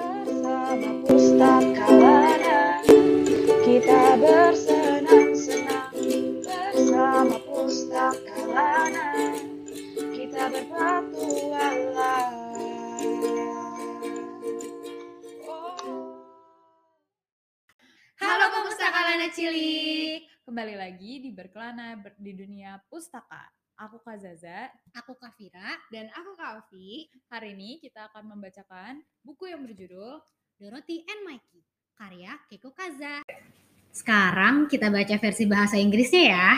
bersama pustakawana kita bersenang-senang bersama pustakawana kita berpetualang Halo pemustaka Lana Cilik. Kembali lagi di Berkelana ber- di dunia pustaka. Aku Kak Zaza. Aku Kavira dan aku Kavi, Hari ini kita akan membacakan buku yang berjudul Dorothy and Mikey, karya Keiko Kaza. Sekarang kita baca versi bahasa Inggrisnya ya.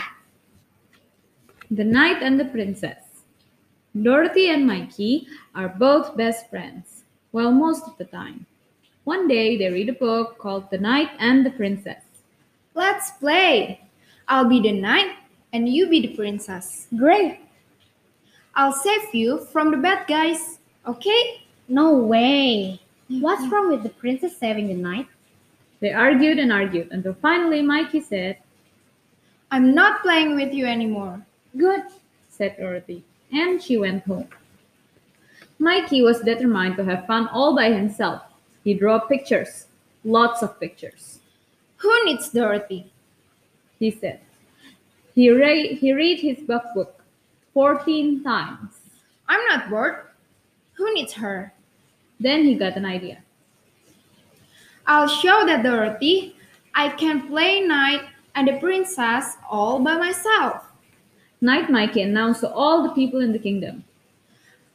The Knight and the Princess. Dorothy and Mikey are both best friends, well, most of the time. One day they read a book called The Knight and the Princess. Let's play. I'll be the knight and you be the princess. Great! I'll save you from the bad guys. Okay? No way. What's wrong with the princess saving the knight? They argued and argued until finally Mikey said, I'm not playing with you anymore. Good, said Dorothy, and she went home. Mikey was determined to have fun all by himself. He drew pictures, lots of pictures. Who needs Dorothy? he said. He, re- he read his buff book 14 times. I'm not bored. Who needs her? Then he got an idea. I'll show that Dorothy I can play knight and the princess all by myself. Night Mikey announced to all the people in the kingdom.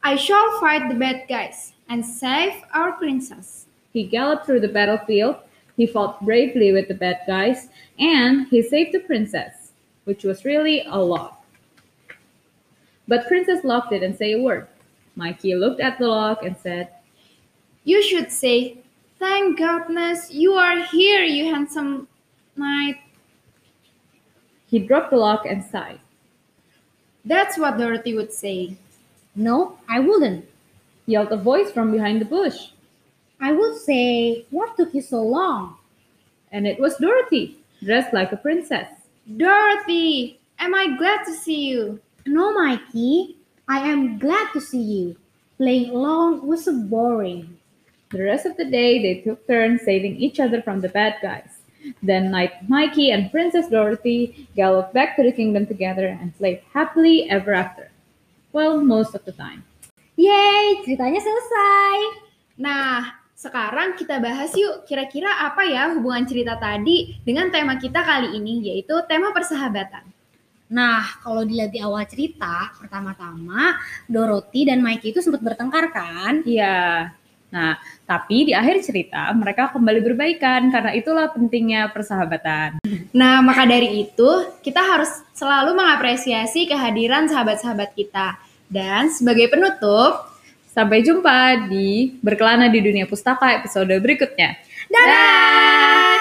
I shall fight the bad guys and save our princess. He galloped through the battlefield, he fought bravely with the bad guys, and he saved the princess, which was really a lot. But Princess Locke didn't say a word. Mikey looked at the log and said, You should say, Thank goodness you are here, you handsome knight. He dropped the log and sighed. That's what Dorothy would say. No, I wouldn't. Yelled a voice from behind the bush, I would say, what took you so long? and it was Dorothy, dressed like a princess. Dorothy, am I glad to see you? No, Mikey. I am glad to see you. Playing along was so boring. The rest of the day, they took turns saving each other from the bad guys. Then Knight Mikey and Princess Dorothy galloped back to the kingdom together and played happily ever after. Well, most of the time. Yay, ceritanya selesai. Nah, sekarang kita bahas yuk kira-kira apa ya hubungan cerita tadi dengan tema kita kali ini yaitu tema persahabatan. Nah, kalau dilihat di awal cerita, pertama-tama Dorothy dan Mikey itu sempat bertengkar kan? Iya. Nah, tapi di akhir cerita mereka kembali berbaikan karena itulah pentingnya persahabatan. Nah, maka dari itu kita harus selalu mengapresiasi kehadiran sahabat-sahabat kita. Dan sebagai penutup, Sampai jumpa di Berkelana di Dunia Pustaka episode berikutnya. Dadah! Oh,